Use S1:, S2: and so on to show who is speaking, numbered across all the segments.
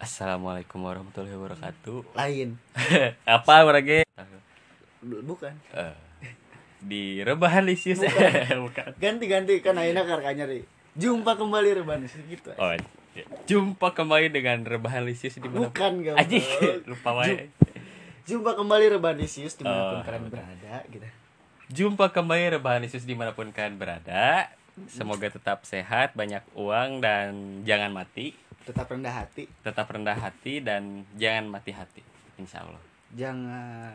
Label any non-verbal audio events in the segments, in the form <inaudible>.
S1: Assalamualaikum warahmatullahi wabarakatuh. <laughs>
S2: lain
S1: Apa orangnya?
S2: B- bukan
S1: Eh, di rebahan Lisius. <laughs> Bukan.
S2: ganti-ganti kan akhirnya karkanya ri jumpa kembali rebahan gitu
S1: Iya. Oh, iya. jumpa kembali dengan rebahan Lisius di mana?
S2: bukan gak
S1: Anjing, lupa wae.
S2: jumpa kembali rebahan Lisius dimanapun
S1: Oh,
S2: kalian
S1: betul.
S2: berada gitu
S1: Jumpa kembali rebahan Lisius dimanapun kalian berada. Semoga tetap sehat, banyak uang dan jangan mati.
S2: tetap rendah hati
S1: Tetap rendah hati dan jangan mati hati. Insya Allah.
S2: jangan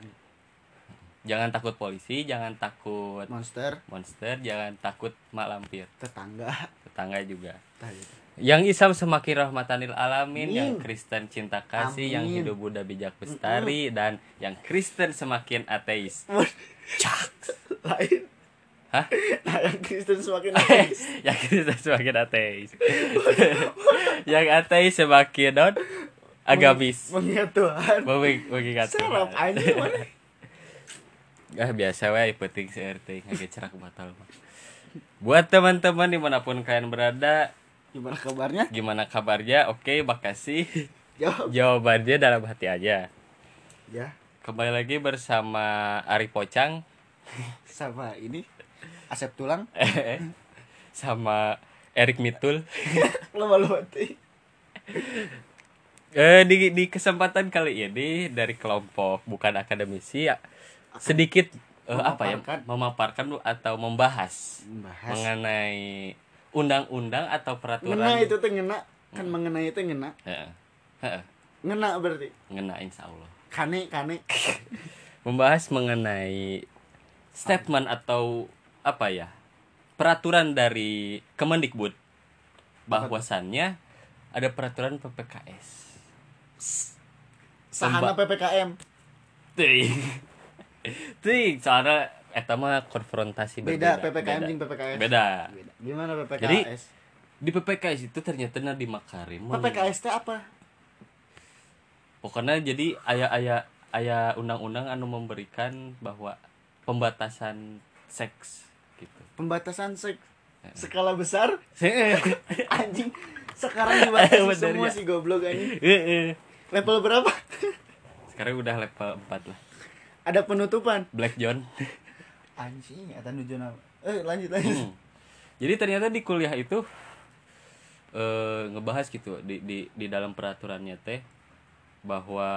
S1: Jangan takut polisi, jangan takut
S2: monster
S1: monster, jangan takut mak lampir,
S2: tetangga
S1: tetangga juga.
S2: Tah, gitu.
S1: Yang Islam semakin rahmatanil alamin,
S2: Amin.
S1: yang Kristen cinta kasih, yang
S2: Amin.
S1: Hindu Buddha bijak bestari, dan yang Kristen semakin ateis.
S2: lain
S1: Hah? <laughs>
S2: nah yang Kristen semakin lain
S1: yang Kristen semakin ateis. <laughs> yang ateis semakin non agamis.
S2: mengingat Tuhan
S1: Bagi bagi kata.
S2: serap
S1: <laughs>
S2: anjing mana
S1: Ah biasa wae penting CRT ngage cerak batal. mah. Buat teman-teman dimanapun kalian berada,
S2: gimana kabarnya
S1: gimana kabarnya? Oke, makasih. <laughs>
S2: jawab
S1: Jawabannya dalam hati aja.
S2: ya
S1: Kembali lagi bersama Ari Pocang <laughs>
S2: sama ini asep tulang
S1: sama Erik Mitul.
S2: lama lu mati
S1: Eh di di kesempatan kali ini dari kelompok bukan akademisi ya sedikit eh, apa ya
S2: Memaparkan.
S1: memaparkan atau membahas
S2: bahas
S1: mengenai undang-undang atau peraturan
S2: ngena Nah, itu tuh ngena
S1: Hmm.
S2: kan mengenai itu ngena
S1: Heeh. Heeh.
S2: ngena berarti
S1: ngena insya Allah
S2: kane kane
S1: membahas mengenai statement atau apa ya peraturan dari Kemendikbud bahwasannya ada peraturan PPKS.
S2: sahana ppkm
S1: Ting. <laughs> Ting, soalnya eta mah konfrontasi
S2: beda
S1: berbeda. Beda.
S2: ppkm jeung ppks
S1: Beda.
S2: Beda. gimana ppks
S1: Jadi- Di PPKS itu ternyata na di Makarim.
S2: ppks itu apa
S1: Pokoknya jadi ayah-ayah ayah undang-undang anu memberikan bahwa pembatasan seks
S2: <laughs>
S1: gitu.
S2: pembatasan sek
S1: Eh.
S2: skala besar <laughs> Eh,
S1: Heeh.
S2: anjing sekarang dibatasi
S1: <laughs> Bener,
S2: semua
S1: ya.
S2: sih goblok anjing
S1: Eh,
S2: level berapa <laughs>
S1: Sekarang udah level 4 lah.
S2: ada penutupan
S1: Black John.
S2: anjing eta nuju na- eh lanjut lanjut
S1: Hmm. Jadi ternyata di kuliah itu eh, ngebahas gitu di, di di dalam peraturannya teh bahwa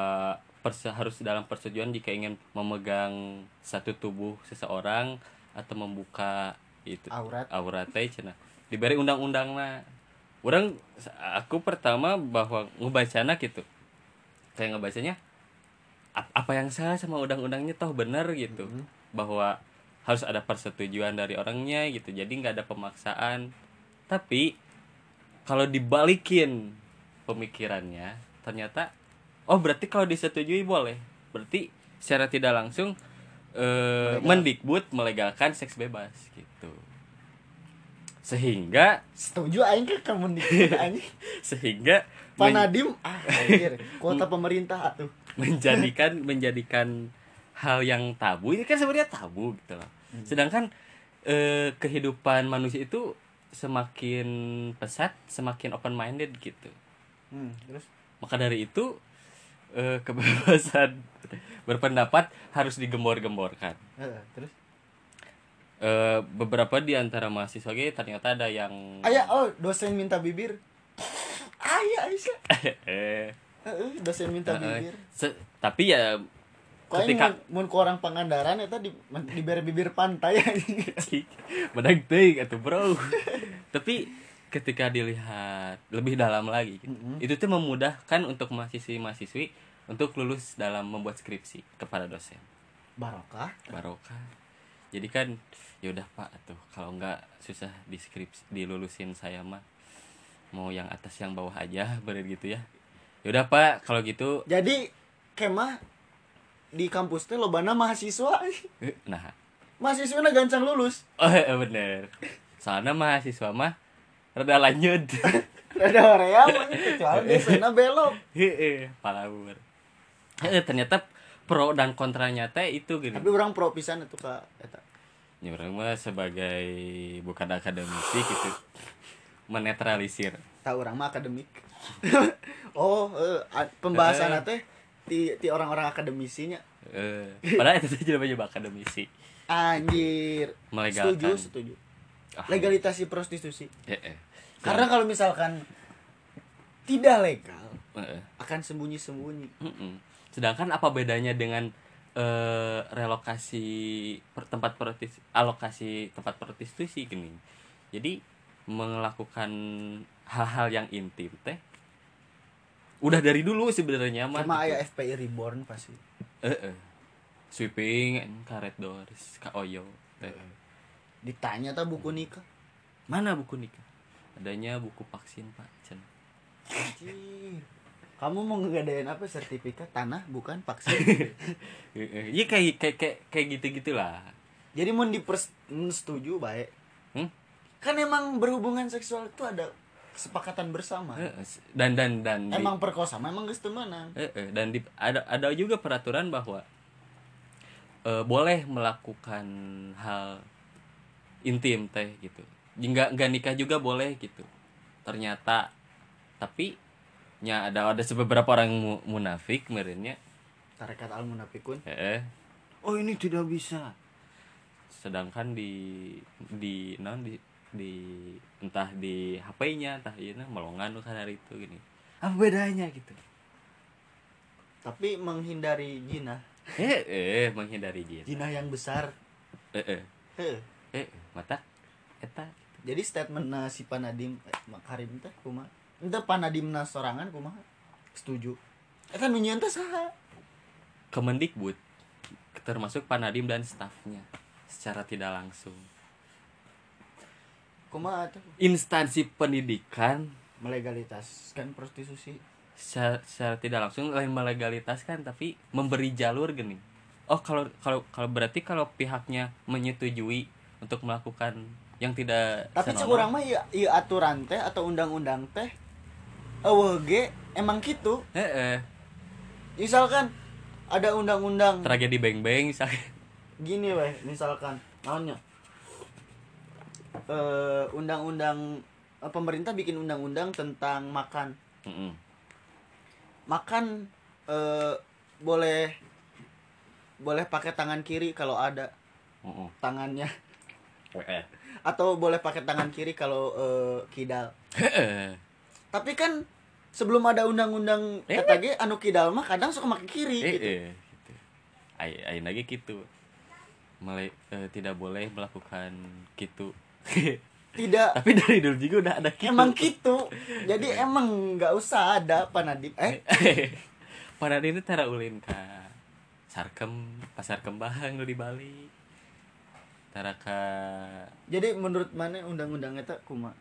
S1: perse- harus dalam persetujuan jika ingin memegang satu tubuh seseorang atau membuka itu
S2: aurat
S1: aurat teh cenah diberi undang-undang mah orang aku pertama bahwa ngebacana gitu kayak ngebacanya "Ap- apa yang salah sama undang-undangnya toh bener gitu bahwa harus ada persetujuan dari orangnya gitu jadi nggak ada pemaksaan tapi kalau dibalikin pemikirannya ternyata oh berarti kalau disetujui boleh berarti secara tidak langsung eh, mendikbud melegalkan seks bebas gitu sehingga
S2: setuju aing ke kamu
S1: <laughs>
S2: nih anjing
S1: sehingga men-
S2: panadim ah anjir kuota pemerintah tuh
S1: menjadikan <laughs> menjadikan hal yang tabu ini kan sebenarnya tabu gitu loh sedangkan eh, kehidupan manusia itu semakin pesat semakin open minded gitu
S2: hmm, terus
S1: maka dari itu eh, <laughs> kebebasan berpendapat harus digembor-gemborkan
S2: Eh, terus
S1: Eh, beberapa di antara mahasiswa ge ternyata ada yang
S2: Ayah, oh dosen minta bibir. Ayah, Aisyah.
S1: <laughs> Eh,
S2: Heeh, dosen
S1: eh,
S2: minta bibir.
S1: se- tapi ya
S2: Kok ini
S1: ketika
S2: mun ke orang Pangandaran eta di men- diberi bibir pantai <laughs> anjing.
S1: Cik, <laughs> menang teuing atuh bro. <laughs> Tapi ketika dilihat lebih dalam lagi, gitu, itu tuh memudahkan untuk mahasiswi-mahasiswi untuk lulus dalam membuat skripsi kepada dosen.
S2: Barokah.
S1: Barokah. Jadi kan yaudah Pak atuh kalau nggak susah di skripsi dilulusin saya mah mau yang atas yang bawah aja <laughs> bener gitu ya. Yaudah Pak kalau gitu <laughs>
S2: Jadi kemah di kampus teh lobana mahasiswa. <laughs>
S1: eh, nah <laughs>
S2: Mahasiswa gancang lulus. <laughs>
S1: oh eh, bener. Soalnya mahasiswa mah rada lanjut. <laughs>
S2: Rada hoream anjing, kecuali dosenna belok.
S1: Heeh, palawur. Heeh, ternyata pro dan kontranya teh itu gini.
S2: Tapi orang pro pisan itu ka eta.
S1: Ya, orang mah sebagai bukan akademisi gitu. menetralisir
S2: tahu orang mah akademik <laughs> oh eh, a- pembahasan
S1: Eh.
S2: teh ti ti orang-orang akademisinya
S1: Eh, padahal itu saja namanya akademisi
S2: anjir
S1: Melegalkan.
S2: setuju setuju
S1: Ah.
S2: legalisasi prostitusi
S1: Eh, eh.
S2: karena kalau misalkan tidak legal
S1: Eh, eh.
S2: akan sembunyi-sembunyi
S1: Mm-mm. Sedangkan apa bedanya dengan eh, relokasi per- tempat protis alokasi tempat prostitusi gini. Jadi melakukan hal-hal yang intim teh udah dari dulu sebenarnya mah. gitu.
S2: sama ayah FPI reborn pasti
S1: Eh, eh. Sweeping karet doors ka oyo. teh.
S2: ditanya tak buku nikah
S1: Mana buku nikah? Adanya buku vaksin Pak Cen. <laughs>
S2: Anjir. kamu mau ngegadain apa sertifikat tanah bukan
S1: <laughs>
S2: vaksin
S1: Eh, eh. Ya kayak kayak kayak, kayak gitu-gitulah.
S2: jadi mau dipers mun setuju baik
S1: Hmm?
S2: kan emang berhubungan seksual itu ada kesepakatan bersama
S1: Eh, eh. Dan dan dan di-
S2: emang perkosa memang geus teu meunang.
S1: Eh, eh, dan di, ada ada juga peraturan bahwa eh, boleh melakukan hal intim teh gitu nggak nggak nikah juga boleh gitu ternyata tapi nya ada ada beberapa orang mu- munafik merenya
S2: tarekat al munafikun
S1: eh, eh.
S2: oh ini tidak bisa
S1: sedangkan di di non di, di- entah di HP-nya entah ini melongan hari itu gini apa bedanya gitu
S2: tapi menghindari jina
S1: eh eh menghindari gitu
S2: jina yang besar
S1: eh eh
S2: Heh.
S1: eh mata eta
S2: jadi statement si panadim eh, Mak karim teh kumaha ente panadimna sorangan kumaha setuju eta nu nyieu teh saha
S1: Kemendikbud termasuk Panadim dan stafnya secara tidak langsung
S2: kumaha teh
S1: instansi pendidikan
S2: melegalitaskan prostitusi
S1: secara, secara tidak langsung lain melegalitaskan tapi memberi jalur gini oh kalau kalau kalau berarti kalau pihaknya menyetujui untuk melakukan yang tidak
S2: tapi cek
S1: senonoh.
S2: urang mah ieu ieu aturan teh atau undang-undang teh eueuh ge emang gitu
S1: eh, eh,
S2: misalkan ada undang-undang
S1: tragedi beng beng misalnya
S2: gini weh misalkan naonnya eh undang-undang eh, pemerintah bikin undang-undang tentang makan
S1: Mm-mm.
S2: makan eh boleh boleh pakai tangan kiri kalau ada
S1: Mm-mm.
S2: tangannya <laughs>
S1: Eh,
S2: atau boleh pakai tangan kiri kalau eh, kidal
S1: eh.
S2: tapi kan sebelum ada undang-undang
S1: Eh.
S2: eta ge anu kidal mah kadang suka pakai kiri
S1: eh,
S2: gitu.
S1: eh, gitu. Ay, ayeuna ge gitu Mele- eh, tidak boleh melakukan gitu <laughs>
S2: tidak
S1: tapi dari dulu juga udah ada <laughs> gitu
S2: emang gitu jadi emang nggak usah ada panadip eh
S1: <laughs> pada ini tara ulin ka sarkem pasar kembang lu di Bali tara ka
S2: Jadi menurut mana undang-undang eta kuma?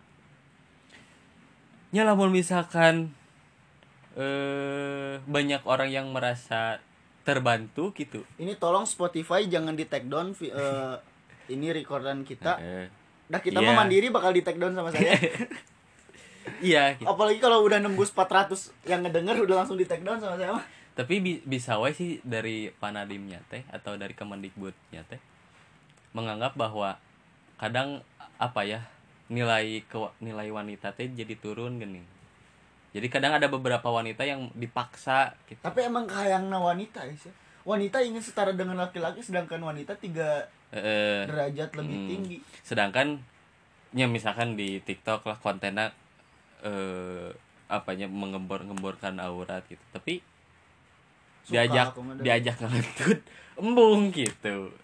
S1: nya lamun misalkan eh banyak orang yang merasa terbantu gitu
S2: Ini tolong Spotify jangan di take down vi- eh,
S1: <laughs>
S2: ini recordan kita.
S1: Eh,
S2: Dah kita
S1: Iya.
S2: mah mandiri bakal di take down sama saya.
S1: <laughs> iya gitu.
S2: Apalagi kalau udah nembus 400 yang ngedenger udah langsung di take down sama saya mah.
S1: tapi bi- bisa wae sih dari Panadimnya teh atau dari Kemendikbudnya teh menganggap bahwa kadang apa ya nilai ke nilai wanita teh jadi turun gini jadi kadang ada beberapa wanita yang dipaksa gitu
S2: Tapi emang kayangna wanita ya. sih. Wanita ingin setara dengan laki-laki sedangkan wanita tiga
S1: Eh,
S2: derajat lebih
S1: Hmm.
S2: tinggi.
S1: sedangkan ya misalkan di TikTok lah kontennya eh apanya mengembor-ngemborkan aurat gitu tapi
S2: Suka
S1: diajak
S2: aku ngedengar.
S1: diajak ngelentut embung gitu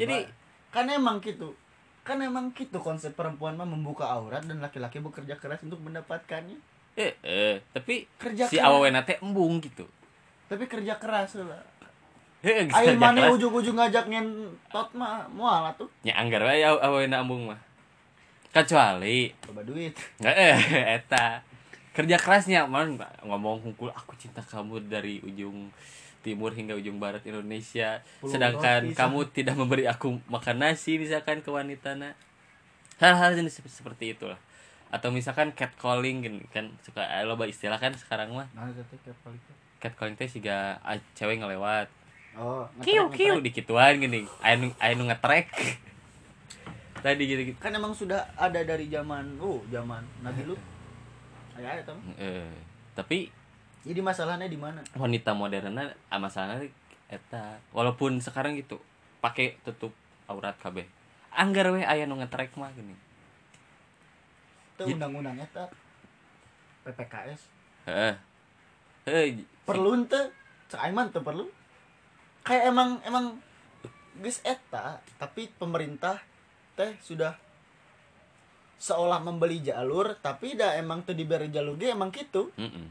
S1: jadi
S2: kan emang gitu. Kan emang gitu konsep perempuan mah membuka aurat dan laki-laki bekerja keras untuk mendapatkannya.
S1: eh, eh, tapi
S2: Kerja
S1: si
S2: keras.
S1: awawena teh embung gitu
S2: Tapi kerja keras lah.
S1: Heuh, geus
S2: Ayo
S1: kerja
S2: mana
S1: keras.
S2: ujung-ujung ngajak ngentot mah mual tuh
S1: nya anggar wae aw- awawena embung mah kecuali
S2: coba duit
S1: eh <laughs> eta kerja kerasnya man ngomong hungkul aku cinta kamu dari ujung timur hingga ujung barat Indonesia
S2: Pulau
S1: sedangkan
S2: roti,
S1: kamu tidak memberi aku makan nasi misalkan ke wanitana hal-hal jenis sep- seperti itulah atau misalkan catcalling gini kan suka eh, loba istilah kan sekarang mah
S2: nah itu kayak paling
S1: catcalling teh siga ah, cewek ngelewat
S2: oh
S1: kiu
S2: ngetrek,
S1: kiu dikituan gini anu anu ngetrek <laughs> tadi gitu gitu
S2: kan emang sudah ada dari zaman oh zaman Nabi Lut ya ada teman
S1: eh, tapi
S2: jadi masalahnya di mana
S1: wanita modernnya ah, masalahnya eta walaupun sekarang gitu pakai tutup aurat kabeh anggar weh aya nu ngetrek mah gini
S2: itu undang-undangnya tak PPKS
S1: heeh heeh
S2: perlu ente caiman tuh perlu kayak emang emang geus eta tapi pemerintah teh sudah seolah membeli jalur tapi dah emang tuh diberi jalur dia emang gitu
S1: heeh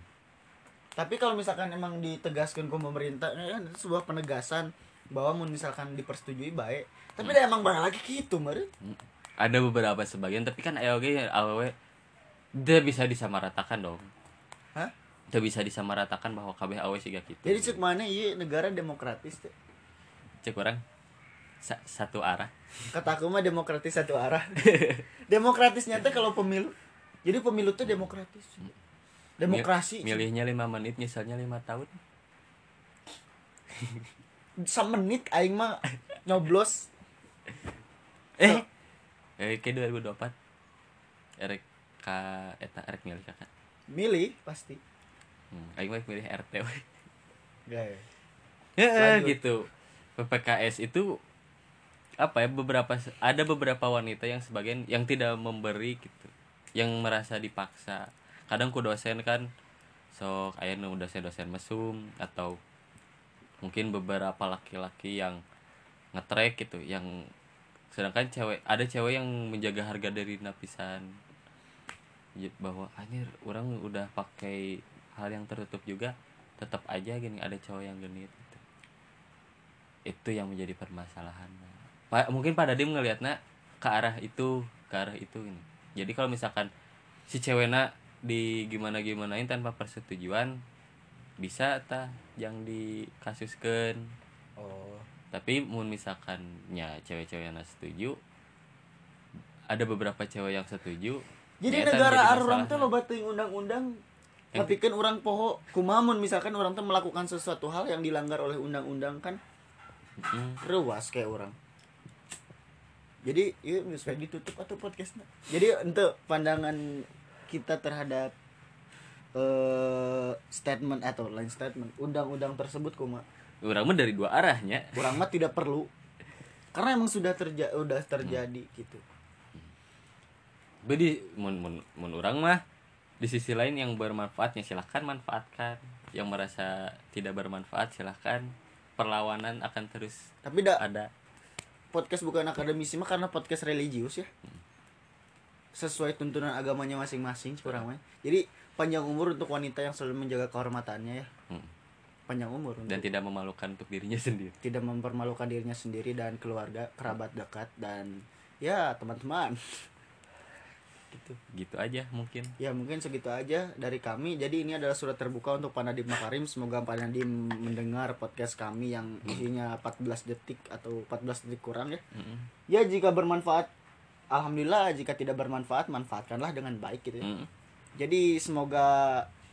S2: tapi kalau misalkan emang ditegaskan ke pemerintah eh, kan itu sebuah penegasan bahwa mun misalkan dipersetujui baik tapi dah emang barang lagi gitu mari
S1: ada beberapa sebagian tapi kan aya oge awewe dia bisa disamaratakan dong
S2: hah
S1: dia bisa disamaratakan bahwa kabeh awe siga gitu
S2: jadi cek mana iya negara demokratis teh
S1: cek orang sa- satu arah
S2: kata aku mah demokratis satu arah demokratisnya teh kalau pemilu jadi pemilu tuh demokratis demokrasi
S1: Mil- milihnya lima menit misalnya lima tahun
S2: semenit aing mah nyoblos
S1: eh eh ke 2024 erek ka eta erek milih kakak
S2: milih pasti
S1: hmm. aing mah milih RT we.
S2: Gak ya.
S1: Heeh,
S2: Lanjut.
S1: gitu PPKS itu apa ya beberapa ada beberapa wanita yang sebagian yang tidak memberi gitu yang merasa dipaksa kadang ku dosen kan sok aya nu dosen-dosen mesum atau mungkin beberapa laki-laki yang ngetrek gitu yang sedangkan cewek ada cewek yang menjaga harga diri napisan bahwa anjir orang udah pakai hal yang tertutup juga tetap aja gini ada cowok yang genit gitu. itu yang menjadi permasalahan Pa- mungkin pada dia ngelihatnya ke arah itu ke arah itu ini jadi kalau misalkan si ceweknya di gimana gimanain tanpa persetujuan bisa tah yang dikasuskan
S2: oh
S1: tapi mun misalkan ya cewek-cewek yang setuju ada beberapa cewek yang setuju
S2: jadi
S1: ya, eta
S2: negara
S1: menjadi
S2: ar orang teh
S1: masalah.
S2: loba teuing undang-undang ngapikan orang poho kumamun misalkan orang teh melakukan sesuatu hal yang dilanggar oleh undang-undang kan
S1: Mm-mm.
S2: rewas kayak orang jadi iya geus we ditutup atau podcastnya jadi untuk pandangan kita terhadap eh statement atau lain statement undang-undang tersebut kuma
S1: orang mah dari dua arahnya
S2: kurang mah tidak perlu karena emang sudah terjadi udah terjadi
S1: Hmm.
S2: gitu
S1: jadi mun mun mun orang mah di sisi lain yang bermanfaatnya silahkan manfaatkan yang merasa tidak bermanfaat silahkan perlawanan akan terus
S2: tapi da,
S1: ada
S2: podcast bukan akademisi mah karena podcast religius ya sesuai tuntunan agamanya masing-masing
S1: Iya.
S2: kurang mah jadi panjang umur untuk wanita yang selalu menjaga kehormatannya ya
S1: Hmm.
S2: panjang umur untuk
S1: dan tidak memalukan untuk dirinya <laughs> sendiri
S2: tidak mempermalukan dirinya sendiri dan keluarga kerabat dekat dan ya teman-teman gitu
S1: gitu aja mungkin
S2: ya mungkin segitu aja dari kami jadi ini adalah surat terbuka untuk Panadim Makarim semoga Panadim mendengar podcast kami yang isinya 14 detik atau 14 detik kurang ya
S1: Mm-mm.
S2: ya jika bermanfaat alhamdulillah jika tidak bermanfaat manfaatkanlah dengan baik gitu ya.
S1: Mm-mm.
S2: jadi semoga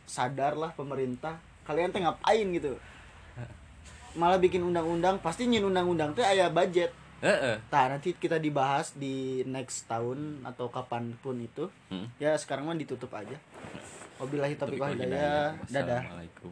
S2: sadarlah pemerintah kalian teh ngapain gitu malah bikin undang-undang pasti nyin undang-undang teh aya budget
S1: Heeh.
S2: Nah, nanti kita dibahas di next tahun atau kapanpun itu.
S1: Hmm.
S2: Ya, sekarang mah ditutup aja. Wabillahi taufiq wal
S1: Tapi kalau
S2: hidayah.
S1: hidayah,
S2: Dadah.
S1: wassalamualaikum